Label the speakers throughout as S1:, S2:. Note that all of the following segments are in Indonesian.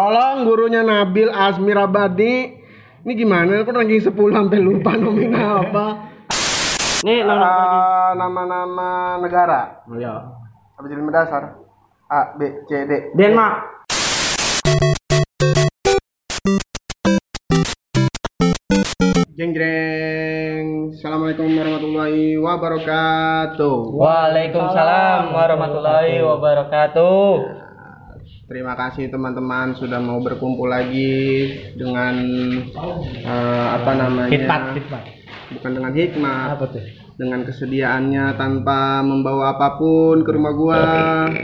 S1: Tolong gurunya Nabil Asmir Abadi. Ini gimana? Aku ranking 10 sampai lupa nominal apa. Eh,
S2: Nih, nomor
S1: Nama-nama negara.
S2: Iya.
S1: Apa jadi dasar? A, B, C, D.
S2: Denmark.
S1: Jeng jeng. Assalamualaikum warahmatullahi wabarakatuh.
S2: Waalaikumsalam warahmatullahi wabarakatuh.
S1: Terima kasih teman-teman sudah mau berkumpul lagi dengan eh, apa namanya?
S2: hitmat.
S1: Bukan dengan hikmah.
S2: tuh?
S1: dengan kesediaannya tanpa membawa apapun ke rumah gua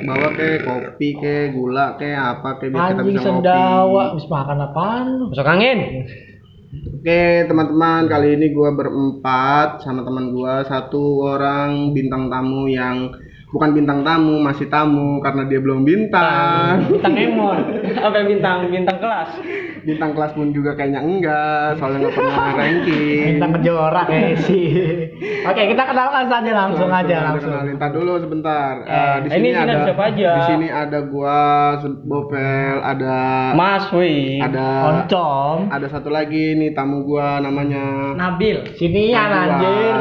S1: bawa ke kopi ke gula ke apa ke biar kita
S3: Anjing
S1: bisa ngopi
S3: sendawa, habis makan apaan lu?
S2: Masuk angin.
S1: oke teman-teman kali ini gua berempat sama teman gua satu orang bintang tamu yang bukan bintang tamu masih tamu karena dia belum bintang
S2: Bintang Emon. Apa yang bintang? Bintang kelas.
S1: bintang kelas pun juga kayaknya enggak soalnya nggak pernah ranking
S3: Minta kejorak ya sih. Oke, kita kenalkan saja langsung aja langsung.
S1: Kenalin Tar dulu sebentar. Eh, di
S2: ini
S1: sini
S2: kita
S1: ada
S2: siapa aja?
S1: Di sini ada gua, Bovel, ada
S2: Mas Wi.
S1: ada
S3: Oncom.
S1: ada satu lagi nih tamu gua namanya
S2: Nabil.
S3: Sini ya anjir.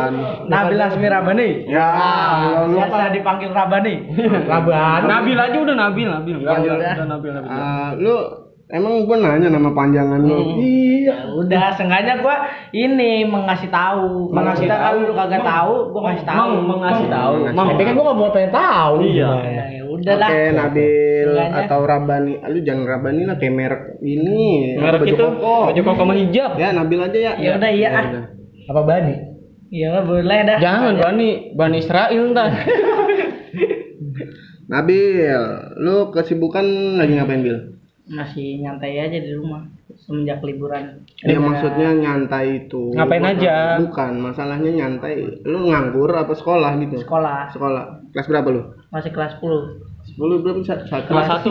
S2: Nabil Asmi Rabani.
S1: ya
S3: Ah,
S1: lu
S3: biasa dipanggil Rabani. Rabani.
S2: Nabil aja udah Nabil, Nabil.
S1: Nabil,
S2: Udah,
S1: ya.
S2: udah Nabil, Nabil.
S1: Ah, lu emang gua nanya nama panjangan lu
S3: Iya, udah sengaja gua ini mengasih tahu.
S2: Mengasih
S4: Iya.
S3: Kita kan
S2: tahu.
S3: lu kagak tahu, gua kasih tahu.
S2: Mang mengasih tahu.
S1: Mengasih
S2: Mang.
S3: Tapi kan gua nggak mau pengen tahu.
S2: Iya.
S3: gimana. Ya udah
S1: Oh. Oke
S3: lah.
S1: Nabil
S3: Sengaja.
S1: atau Rabani, Ah, lu jangan Rabani lah kayak merek ini
S2: Merek itu Oh. baju koko sama hijab.
S1: Ya Nabil aja ya.
S3: Ya udah, iya, ah.
S1: udah.
S3: Apa Bani? Iya, boleh dah.
S2: Jangan Bani, Bani Israel ntar.
S1: Nabil, lu kesibukan lagi ngapain Bil?
S3: masih nyantai aja di rumah semenjak liburan
S1: Ya maksudnya nyantai itu.
S2: Ngapain aja?
S1: Bukan, masalahnya nyantai. Lu nganggur apa sekolah gitu?
S3: sekolah
S1: Sekolah. Kelas berapa lu?
S3: masih kelas 10
S1: 10 belum sa- satu.
S2: Kelas 1.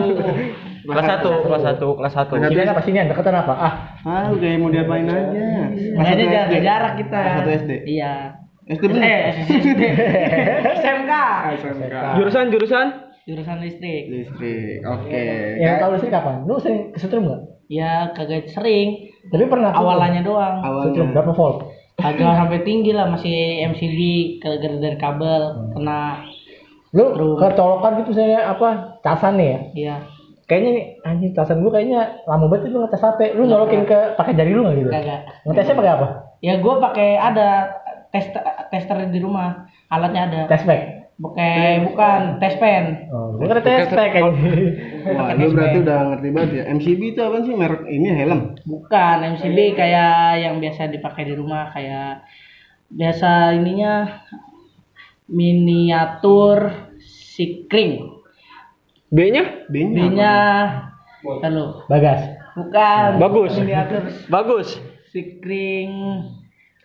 S2: Kelas
S1: Kelas satu.
S2: 1, kelas 1, kelas 1.
S1: Kelas
S3: apa sini yang deketan apa ah
S1: Ah, lu kayak mau diapain aja. Kelas
S3: makanya
S1: satu
S3: jaga
S1: SD.
S3: jarak kita
S1: Kelas satu SD.
S3: iya
S1: SD bener?
S3: eh SD. SMK
S1: SMK.
S2: Jurusan jurusan
S3: jurusan listrik
S1: Listrik. Oke.
S4: Ya,
S3: Yang
S1: Kayak
S3: tahu- listrik kapan
S4: Lu sering kesetrum nggak?
S3: ya kagak sering
S4: Tapi pernah
S3: awalannya doang
S1: Awalnya
S4: kesetrum berapa volt?
S3: agak sampai tinggi lah masih MCD kagak dari kabel kena
S4: Lu
S3: Setrum.
S4: kecolokan gitu saya apa casan nih ya?
S3: iya
S4: Kayaknya nih anjing casan gua kayaknya lama banget lu ngetes HP. Lu nyolokin ke pakai jari lu nggak gitu?
S3: kagak
S4: Ngetesnya pakai apa?
S3: ya gua pakai ada tes tester di rumah alatnya ada
S4: Test pack.
S3: pakai bukan tes pen
S4: Oh, gua kira test pack kayaknya.
S1: Wah, lu berarti udah ngerti banget ya. MCB itu apa sih merek ini helm?
S3: Bukan MCB kayak yang biasa dipakai di rumah kayak biasa ininya miniatur sikring.
S2: B-nya
S1: B-nya.
S3: B-nya lalu
S4: Bagas.
S3: bukan
S2: Bagus.
S3: miniatur
S2: bagus.
S3: sikring.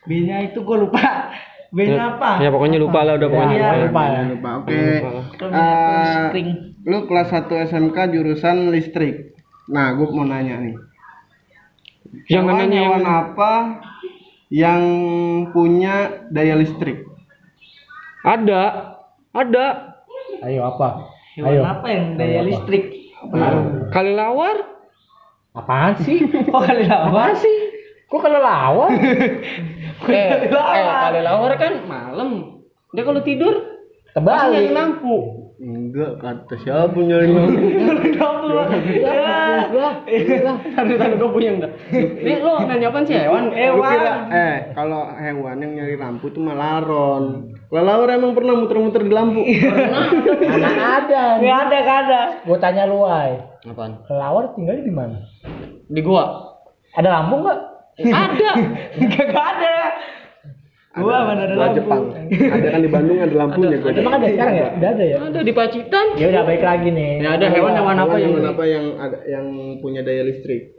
S3: B-nya itu gue lupa. B-nya
S2: Ya
S3: apa?
S2: pokoknya lupa lah udah pokoknya.
S3: Iya.
S4: lupa ya.
S1: Jangan lupa. Oke.
S3: Kalau miniatur
S1: Eh,
S3: sikring.
S1: lu kelas 1 SMK jurusan listrik. Nah, gue mau nanya nih.
S2: Yang
S1: Hewan-
S2: namanya yang
S1: hewan apa yang punya daya listrik?
S2: ada ada
S4: Ayo apa? Ayo.
S3: Hewan apa yang daya
S4: Apa?
S3: listrik?
S2: kelelawar.
S4: Apaan sih?
S3: Oh kali apa?
S4: Apaan sih? Kok kalau lawan?
S2: Eh,
S3: Kelelawar.
S2: eh kelelawar kan malam. Dia kalau tidur pasti nyari
S4: Terbalik.
S2: lampu.
S1: Enggak, kata siapa nyari
S2: eh, Tadi tadi gue punya enggak. Nih lo nanya apaan sih hewan?
S3: Hewan.
S1: eh, kalau hewan yang nyari lampu itu malaron. Lalaur emang pernah muter-muter di lampu.
S4: Mana ada?
S2: Ya.
S3: Gak ada, gak ada.
S4: Gua tanya lu, Wai.
S2: Apaan?
S4: Kelawar tinggalnya di mana?
S2: Di gua.
S4: Ada lampu nggak?
S2: Ada.
S3: Gak ada. Gua mana ada
S1: Gua
S3: lampu.
S1: Jepang. Ada kan di Bandung ada lampunya gua.
S4: Emang ada sekarang ya? Udah ada ya?
S2: Ada di Pacitan.
S4: Ya udah baik lagi nih.
S2: Ya ada hewan hewan apa yang
S1: Hewan apa yang ada yang punya daya listrik?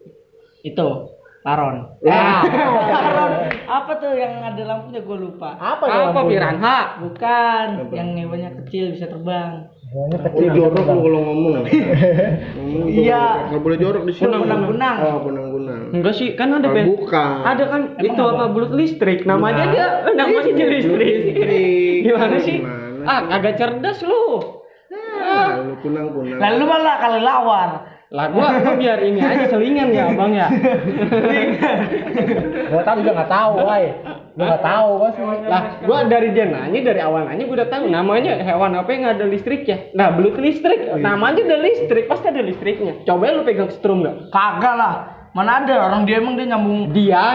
S3: Itu laron.
S2: Ya. Ah,
S3: Laron. Apa tuh yang ada lampunya gue lupa.
S4: Apa ya?
S2: apa piranha?
S3: Bukan yang hewannya kecil bisa terbang.
S1: Lu
S4: Hewannya kecil.
S1: jorok lu kalau ngomong. Ngomong tuh
S3: Iya.
S1: Enggak boleh jorok di sini.
S3: Kunang-kunang.
S1: Oh, kunang-kunang.
S2: Enggak sih, kan ada
S1: Ah,
S2: ben-
S1: Bukan.
S2: Ada kan itu apa belut listrik namanya dia namanya dia listrik.
S1: Listrik.
S2: Gimana sih?
S1: Gimana?
S2: Ah, kagak cerdas lu.
S1: Lalu kunang-kunang.
S3: Lalu malah kalau lawar.
S2: Lah gua, gua biar ini aja selingan ya Bang ya.
S4: Gua tahu juga nggak tahu, woi. Gua nggak tahu pasti. Lah,
S2: Lah gua dari dia nanya dari awal nanya gua udah tahu namanya hewan apa yang ada listrik ya. Nah, belut listrik. Namanya ada listrik, pasti ada listriknya. Coba lu pegang strum nggak?
S3: Kagak lah. Mana ada orang dia emang dia nyambung.
S2: Dia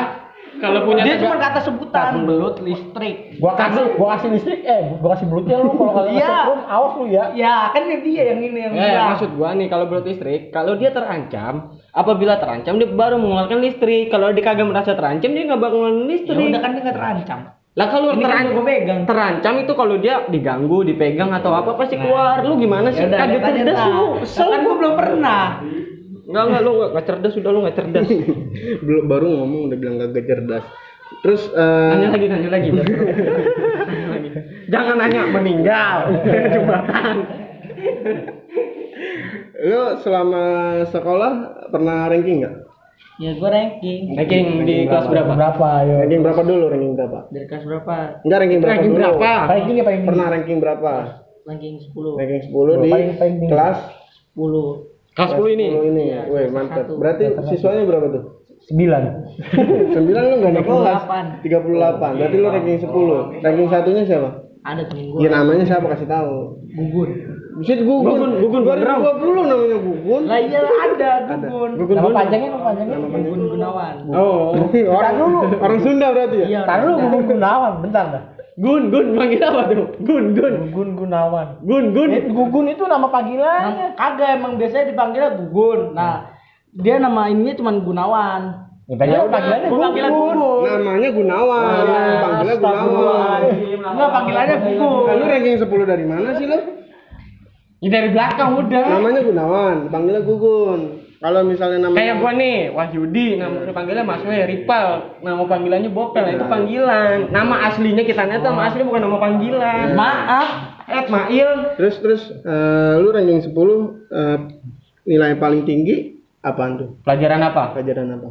S2: kalau punya
S3: dia
S2: tega-
S3: cuma kata sebutan.
S2: Tahan
S3: Belut listrik.
S4: gua kasih gua kasih listrik eh gua kasih belutnya lu kalau kagak
S3: Iya.
S4: kasih belum awas lu ya.
S3: Ya kan dia yang ini yang
S2: Ya,
S3: bilang.
S2: maksud gua nih kalau belut listrik, kalau dia terancam, apabila terancam dia baru mengeluarkan listrik. Kalau dia kagak merasa terancam dia nggak bakal ngeluarin
S3: Ya
S2: listrik.
S3: udah kan dia nggak terancam.
S2: Lah kalau
S3: Ini kan
S2: terancam
S3: gue pegang.
S2: terancam itu kalau dia diganggu, dipegang atau apa pasti keluar. Lu gimana sih?
S3: Ya udah,
S2: Kagak
S3: lihat aja
S2: Kan cerdas
S3: dah.
S2: lu.
S3: Lah Kan gue belum pernah.
S2: Enggak enggak lu enggak cerdas sudah lu enggak cerdas.
S1: Belum baru ngomong udah bilang kagak cerdas. Terus eh,
S2: Nanya lagi, nanya lagi. Nanya lagi. Jangan nanya meninggal. Jembatan.
S1: lu selama sekolah pernah ranking nggak?
S3: Ya gue ranking.
S2: Ranking di kelas berapa?
S4: Berapa ya?
S1: Ranking berapa dulu? Ranking berapa?
S3: Dari kelas berapa?
S1: Enggak ranking berapa
S2: Ranking
S1: dulu?
S2: berapa?
S4: Ranking ya paling
S1: Pernah ranking berapa?
S3: Ranking 10.
S1: Ranking 10 di
S4: Paling- paling tinggi.
S1: kelas
S3: 10.
S2: Kelas 10 Ah, ini. Iya,
S1: 10 ini. Weh, mantap. Berarti siswanya berapa tuh?
S4: 9.
S1: 9 lu enggak naik kelas.
S3: 38.
S2: Oh,
S1: 38. Berarti lu ranking 10. Ranking satunya siapa?
S3: Ada temen gue.
S1: Ya namanya siapa kasih tahu.
S3: Gugun.
S1: Buset Gugun.
S2: Gugun, Gugun Gunawan.
S1: 2020 namanya Gugun.
S3: Lah iya ada Gugun.
S1: Gugun.
S4: Nama panjangnya nama panjangnya.
S3: Gugun Gunawan.
S2: Oh.
S1: Orang dulu orang Sunda berarti ya?
S3: Iya.
S4: Taruh lu Gugun Gunawan, bentar dah.
S2: Gun, Gun manggil apa tuh? Gun, Gun.
S4: Gugun Gunawan.
S2: Gun, Gun.
S4: Eh, Gugun itu nama panggilannya.
S3: Nah, kagak emang biasanya dipanggilnya Gugun. Nah, dia nama ininya cuma Gunawan.
S4: Ya tadi lu panggilannya
S3: Gua panggilan
S4: Gugun.
S3: Gugun.
S1: Namanya Gunawan. Panggilnya Gunawan.
S3: Enggak panggilannya Gugun.
S1: Nah, lu ranking 10 dari mana sih lu?
S2: Ya dari belakang udah.
S1: Namanya Gunawan, panggilnya Gugun. Kalau misalnya namanya
S2: Kayak gua nih, Wahyudi, nama panggilannya Mas Weh, Ripal. Nama panggilannya Bopel, itu panggilan. Nama aslinya kita nyata, nama asli bukan nama panggilan. Eh,
S3: Maaf,
S2: Ed Mail.
S1: Terus terus eh, lu ranking 10 eh, nilai paling tinggi apaan tuh?
S2: Pelajaran apa?
S1: Pelajaran apa?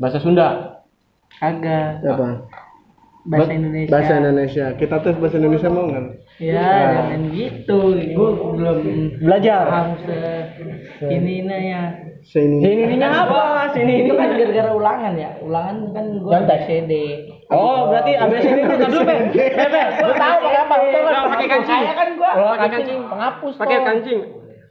S2: Bahasa Sunda.
S3: kagak
S1: Apa?
S3: bahasa Indonesia.
S1: Bahasa Indonesia. Kita tes bahasa Indonesia mau nggak?
S3: Ya, jangan gitu. Gue belum
S2: Belajar.
S3: paham se ini nah ya.
S1: Seini.
S2: Sininya apa? Sini ini.
S3: Itu kan gara-gara ulangan ya. Ulangan kan gue
S4: Yang tes.
S3: CD.
S2: Oh, berarti abis ini kita dulu, Be. Be, Be.
S4: Lu tahu pakai apa? Lu tahu
S2: Jangan
S4: kan?
S2: pakai kancing.
S3: Saya kan gue
S4: Kalau
S2: Pakai
S4: kancing penghapus.
S2: Pakai
S4: Tom.
S2: kancing.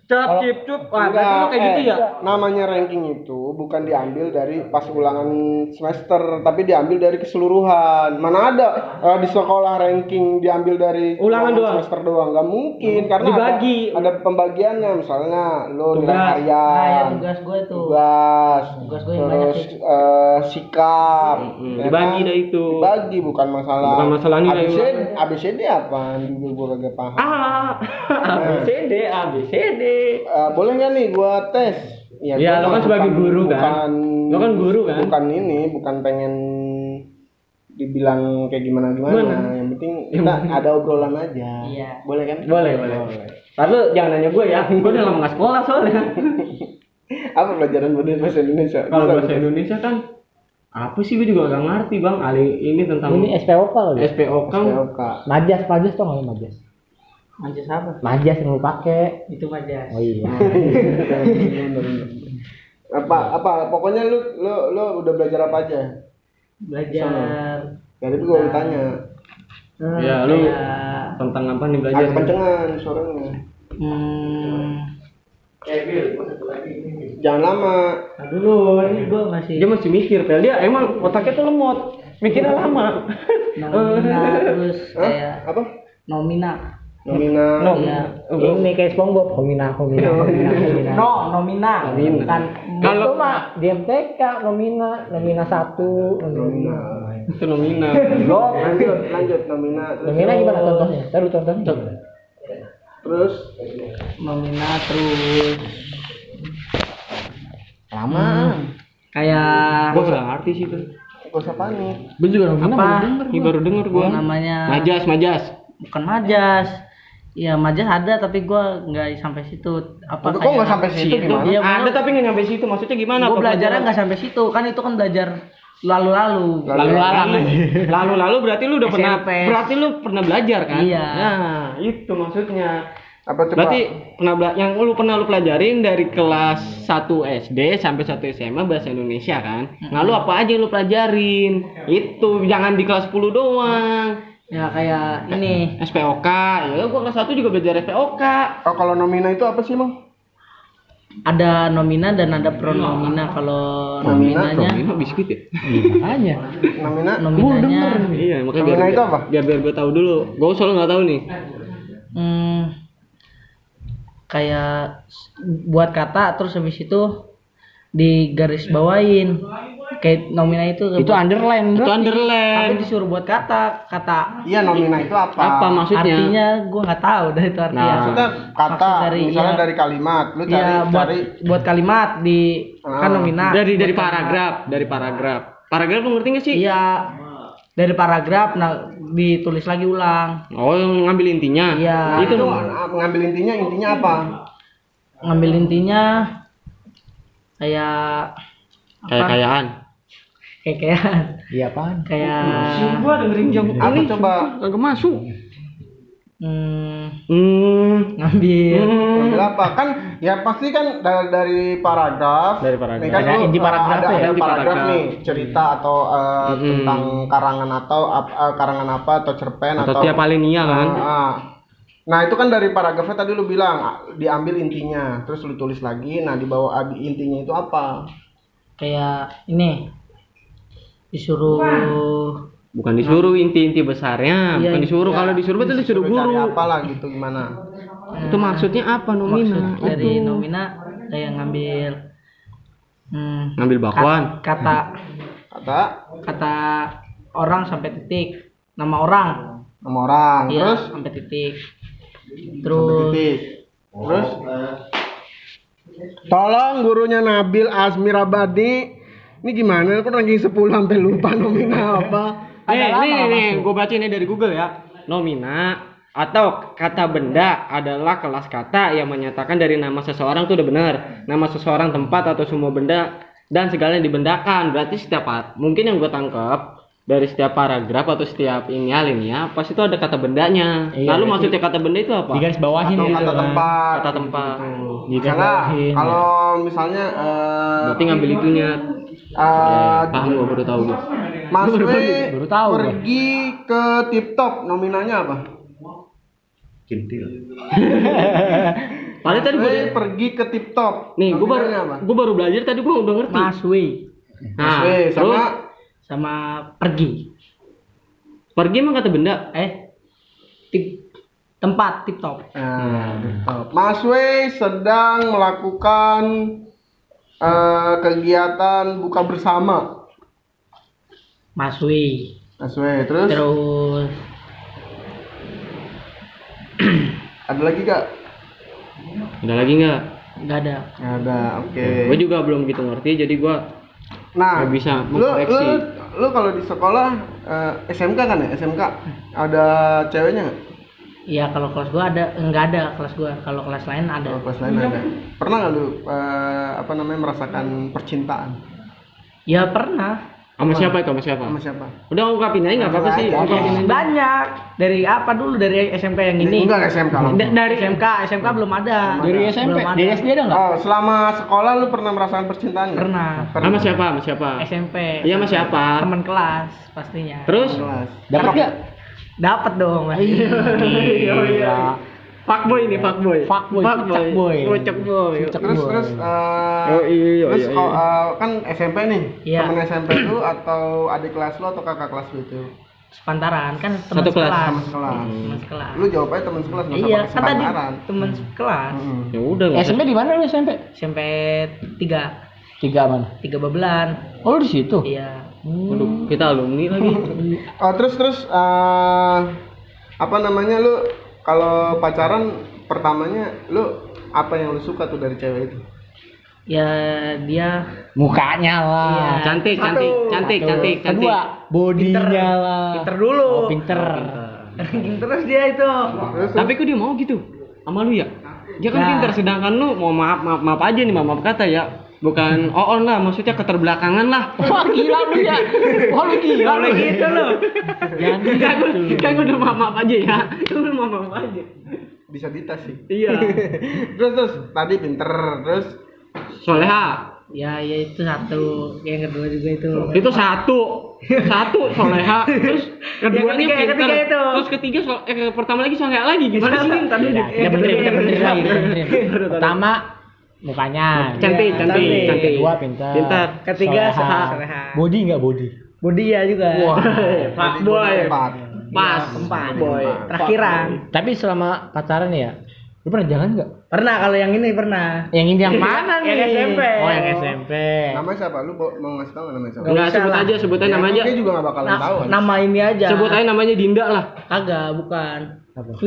S2: Cap, cip, cup. Wah,
S1: Enggak,
S2: berarti lu kayak
S1: eh,
S2: gitu ya?
S1: Namanya ranking itu bukan diambil dari pas ulangan semester, tapi diambil dari keseluruhan. Mana ada eh, di sekolah ranking diambil dari
S2: Ulangan doang? Hmm.
S1: semester doang? Gak mungkin karena
S2: Dibagi.
S1: ada, ada pembagiannya. Misalnya lo nilai
S2: Tugas.
S1: harian,
S3: Nah, ya tugas gue itu.
S1: tugas,
S3: Tugas gua yang banyak
S1: terus eh, sikap, ya
S2: Hmm, Dibagi
S1: kan?
S2: dah itu.
S1: Dibagi bukan masalah.
S2: Bukan masalah nilai
S1: ABCD,
S2: ulangan.
S1: ABCD apaan? Dulu gua kagak paham.
S2: A, A, B, C, D, A, B, C, D.
S1: Eh, boleh nggak nih gua tes? Ya, gua
S2: Iya, lo kan
S1: mah
S2: sebagai
S1: bukan-
S2: guru kan?
S1: Bukan,
S2: Lo kan guru kan?
S1: Bukan ini, bukan pengen dibilang kayak gimana gimana.
S2: Gimana? Ya,
S1: Yang penting kita ada obrolan aja.
S3: Iya.
S1: Boleh kan?
S2: Boleh, boleh. Lalu jangan nanya gue ya, gue udah lama gak sekolah soalnya.
S1: Apa pelajaran budaya bahasa Indonesia?
S2: Kalau
S1: Bisa,
S2: bahasa Indonesia kan apa sih gue juga gak ngerti bang. Ali ini tentang
S4: Ini SPOK kali. ya?
S2: SPO
S1: bisa,
S2: kan
S1: Oka.
S4: Majas, majas tau nggak lu majas?
S3: Majas apa?
S4: Majas yang lu pakai.
S3: Itu majas.
S4: Oh iya.
S1: apa
S2: Iya.
S1: apa pokoknya lu lu lu udah belajar apa aja
S3: Belajar.
S1: dari itu gua tanya
S3: eh,
S2: Ya, lu-
S3: kayak,
S2: tentang apa nih belajar? kan?
S1: agak kencengan suaranya
S3: Hmm,
S1: jangan lama
S3: nah dulu ini gue masih
S2: Dia masih mikir, Pel. Dia emang otaknya tuh lemot. Mikirnya lama.
S3: nomina terus
S1: Hah?
S3: kayak
S1: apa
S3: nomina
S1: nominal
S2: No.
S3: Iya.
S4: Ini kayak SpongeBob, homina, homina, homina, homina.
S3: no Kan? nomina
S2: Nomina.
S3: bukan
S4: Itu
S2: Kalau
S4: mah di MTK nomina, nomina satu, nomina.
S1: nominal
S2: itu nomina.
S1: Blok, lanjut, lanjut nomina. Terus-
S4: Nomina gimana contohnya? Taruh contohnya.
S1: Terus
S3: nomina terus
S4: Lama.
S3: kayak
S2: Gue gak ngerti sih itu.
S1: gak usah panik.
S4: Gue juga nomina
S3: apa
S2: Ini baru denger gue.
S3: namanya
S2: Majas, majas.
S3: bukan majas ya majas ada tapi gue nggak sampai situ apa
S1: Tapi kok nggak sampai situ gimana?
S3: Iya,
S2: Ada
S3: bener.
S2: tapi nggak nyampe situ. Maksudnya gimana?
S3: gue
S2: Apa
S3: belajarnya nggak sampai situ kan itu kan belajar lalu-lalu
S2: lalu lalu lalu lalu berarti lu udah pernah
S3: SMP.
S2: berarti lu pernah belajar kan
S3: Iya.
S2: nah itu maksudnya
S1: Apa coba?
S2: Berarti pernah bela- yang lu pernah lu pelajarin dari kelas 1 SD sampai 1 SMA bahasa Indonesia kan? Nah, lu apa aja yang lu pelajarin? Itu jangan di kelas 10 doang.
S3: ya kayak ini
S2: SPOK, ya gua kelas 1 juga belajar SPOK.
S1: Oh, kalau nomina itu apa sih, Mang?
S3: ada nomina dan ada pronomina kalau
S1: Nomina,
S3: nominanya
S2: Ini mah biskuit ya?
S4: Makanya.
S1: Nomina? Gua
S3: nominanya
S1: denger.
S2: Iya, makanya biar,
S1: Nomina itu apa?
S2: biar biar gua tahu dulu. Gua soalnya nggak tahu nih.
S3: hmm, kayak s- buat kata terus habis itu digaris bawain kayak nomina itu
S4: Itu underline,
S2: Itu
S4: Bro.
S3: aku
S2: underline.
S3: disuruh buat kata kata
S1: Iya, nomina itu apa?
S2: Apa maksudnya?
S3: artinya gue nggak tahu dari itu artinya
S2: Nah.
S1: Maksudnya kata,
S3: Maksud dari-
S1: misalnya
S3: iya.
S1: dari kalimat, lu cari
S3: Iya, buat
S1: cari
S3: buat kalimat di
S1: Ah,
S3: kan nomina
S2: dari dari
S3: Buat kalimat.
S2: paragraf, dari paragraf. Paragraf lu ngerti nggak sih?
S3: iya dari paragraf nah ditulis lagi ulang
S2: Oh, ngambil intinya.
S3: Iya.
S2: Itu
S1: itu ah, ngambil intinya, intinya apa?
S3: ngambil intinya kayak
S2: kayak kayaan.
S3: kayak kayak
S4: Iya apaan?
S3: kayak
S2: Iya, dengerin jam
S1: Apa coba?
S2: Kagak masuk.
S3: hmm,
S2: Hmm.
S3: ngambil
S1: Ngambil apa? Kan ya pasti kan dari, dari paragraf.
S2: Dari paragraf.
S1: Ini kan
S4: Ada
S1: lu,
S4: inti
S1: eh,
S4: paragraf
S1: ada,
S4: ya?
S1: ada
S2: Inti
S1: paragraf
S2: paragraf.
S1: nih cerita atau eh,
S2: Mm-mm.
S1: tentang karangan atau ap- eh, karangan apa atau cerpen atau,
S2: Atau tiap alenia kan.
S1: Ah. Nah, itu kan dari paragrafnya tadi lu bilang ah, diambil intinya, terus lu tulis lagi. Nah, di bawah ab- intinya itu apa?
S3: kayak ini disuruh eh,
S2: Bukan disuruh inti-inti besarnya,
S3: Iya,
S2: bukan disuruh.
S1: iya.
S2: Kalau disuruh betul disuruh
S1: Lu cari
S2: guru.
S1: apalah gitu gimana?
S2: Itu maksudnya apa nomina?
S3: maksud dari
S2: Itu.
S3: nomina kayak ngambil hmm,
S2: Ngambil bakwan.
S3: kat- kata
S1: Kata
S3: kata orang sampai titik nama orang
S1: sama orang,
S3: Iya,
S1: terus
S3: sampai titik
S1: sampai
S3: terus
S1: titik. Terus Tolong gurunya Nabil Azmir Abadi. Ini gimana? Aku ranking 10 sampai lupa nomina apa.
S2: Nih, nih, nih, gue baca ini dari Google ya. Nomina atau kata benda adalah kelas kata yang menyatakan dari nama seseorang itu udah benar. Nama seseorang, tempat atau semua benda dan segala yang dibendakan. Berarti setiap par- mungkin yang gue tangkap dari setiap paragraf atau setiap ini alinea pasti itu ada kata bendanya. Lalu
S4: Iya, berarti-
S2: maksudnya kata benda itu apa?
S4: Di garis bawahin
S1: Atau
S4: gitu
S1: kata
S4: kan.
S1: tempat.
S2: Kata tempat.
S4: Di garis
S1: Misalnya,
S4: bawahin.
S1: kalau misalnya eh
S2: Berarti ngambil itunya. Ya,
S1: eh,
S2: Paham gue baru tahu gue.
S1: Mas Wi
S4: baru tahu gua.
S1: pergi ke tip top nominanya apa?
S2: Paling tadi
S4: Eh.
S2: gue
S1: Wi pergi ke tip top.
S2: Kan nih gue baru Nah,
S1: Nominanya apa?
S2: gue baru belajar tadi gue udah ngerti.
S3: Mas Wi
S1: Mas Wi sama
S2: terus
S3: sama pergi
S2: pergi emang kata benda.
S3: eh tip tempat tip top
S1: Nah, tip top. Mas Wi sedang melakukan eh, kegiatan buka bersama.
S3: Mas Wi
S1: Mas Wi, terus
S3: terus
S1: ada lagi gak?
S2: Ada lagi nggak?
S3: nggak ada
S1: Nggak Ada, oke.
S2: Gue juga belum gitu ngerti, jadi gue
S1: Nah,
S2: nggak bisa
S1: lu lu
S2: mengkoreksi.
S1: lu kalau di sekolah eh, SMK kan ya SMK ada ceweknya nggak?
S3: Iya kalau kelas gua ada nggak ada kelas gua kalau kelas lain ada
S1: Kalau kelas Oh, lain ada. Pernah nggak lu eh, apa namanya merasakan percintaan
S3: ya pernah
S2: Sama siapa itu? Sama siapa?
S1: sama siapa?
S2: Udah ungkapin aja nggak apa-apa sih.
S1: Nggak ada.
S2: ungkapin aja.
S3: banyak dari apa dulu dari SMK yang ini
S1: Enggak SMK. lah.
S3: Da- dari SMK SMK belum ada
S4: Dari
S3: Belum
S4: SMP,
S3: ada.
S4: dari SD ada nggak?
S1: Oh, selama sekolah lu pernah merasakan percintaan? nggak?
S3: pernah
S2: Sama siapa? Sama siapa?
S3: SMP
S2: Iya sama siapa?
S3: teman kelas pastinya
S2: Terus?
S1: Kelas.
S4: Dapat
S1: Cakep.
S4: nggak?
S3: dapat dong Iya,
S2: Iya, Fuckboy ini fuckboy.
S4: Fuckboy,
S2: Fuckboy.
S4: fuckboy.
S2: Fuckboy.
S3: Oh,
S2: boy.
S3: iya.
S1: Terus terus eh,
S2: Yo, iya, iya,
S1: terus
S2: iya,
S1: kok,
S2: iya.
S1: eh, kan SMP nih.
S3: Iya.
S1: Temen SMP lu atau adik kelas lu atau kakak kelas lu itu?
S3: sepantaran kan teman
S2: Satu kelas.
S1: Teman sekelas.
S2: Hmm.
S3: teman sekelas
S1: Lu jawab aja teman sekelas nggak usah
S3: iya
S1: pakai Hmm.
S3: kan tadi
S1: sepantaran.
S3: teman sekelas
S1: Mm-mm.
S2: Ya udah nggak usah.
S4: SMP di mana lu SMP?
S3: SMP tiga
S4: Tiga mana?
S3: tiga babelan
S4: Oh lu di situ.
S3: iya
S2: Waduh, kita alumni lagi.
S1: Oh, terus terus eh, apa namanya lu kalau pacaran pertamanya lu apa yang lu suka tuh dari cewek itu?
S3: ya dia
S4: Mukanya lah.
S3: Iya.
S1: Satu.
S2: Cantik, cantik, cantik,
S4: Satu.
S2: cantik, cantik.
S4: Kedua, bodinya Iya lah.
S3: pinter dulu
S4: Oh, pinter.
S3: ranking terus dia itu
S1: Terus, terus
S2: Tapi kok dia mau gitu? Sama lu ya? Dia kan
S3: Nah.
S2: pintar sedangkan lu mau maaf maaf maaf aja nih maaf, maaf kata ya. Bukan oon lah, maksudnya keterbelakangan lah.
S4: Wah gila lu ya. Wah lu gila lu.
S3: Kalau gitu loh
S4: Jangan
S2: gitu. Kan gue udah maaf maaf aja ya. Lu maaf maaf aja.
S1: disabilitas sih
S2: Iya.
S1: terus terus tadi pinter terus
S2: Soleha.
S3: Ya, ya itu satu. Ya, Yang kedua juga itu.
S2: Itu satu. Satu soleha. Terus keduanya
S3: ketiga, yang
S2: pinter.
S3: ketiga itu.
S2: Terus ketiga so- eh, pertama lagi soleha lagi. gitu. Iya, Gimana sih? Nin? Tadi
S3: Iya,
S4: Udah, kita benerin, kita benerin lagi, kita benerin. Pertama mukanya.
S2: Cantik, cantik,
S3: Iya, cantik.
S2: cantik.
S4: Kedua pintar.
S2: Pintar.
S3: Ketiga,
S4: Soleha.
S3: soleha.
S4: Body nggak body?
S3: Body ya juga.
S4: Wah.
S2: Pak boy.
S3: Iya.
S2: Iya,
S1: empat
S2: Pas.
S3: Empat.
S1: Boy.
S3: Terakhiran.
S4: Tapi selama pacaran ya, lu pernah jalan nggak?
S3: Pernah kalau yang ini pernah.
S4: Yang ini yang mana nih?
S3: Iya, Yang SMP.
S4: Oh yang SMP.
S1: namanya siapa lu mau mau ngasih tau nggak namanya siapa Iya, kan
S2: Enggak
S3: Nggak usah
S2: sebut
S3: lah. Ya,
S2: aja, sebut aja namanya.
S1: dia juga nggak bakalan tahu
S3: Nah,
S1: kan?
S3: nama ini aja.
S2: Sebut aja namanya Dinda lah.
S3: Kagak, bukan.
S4: Apa?
S3: V.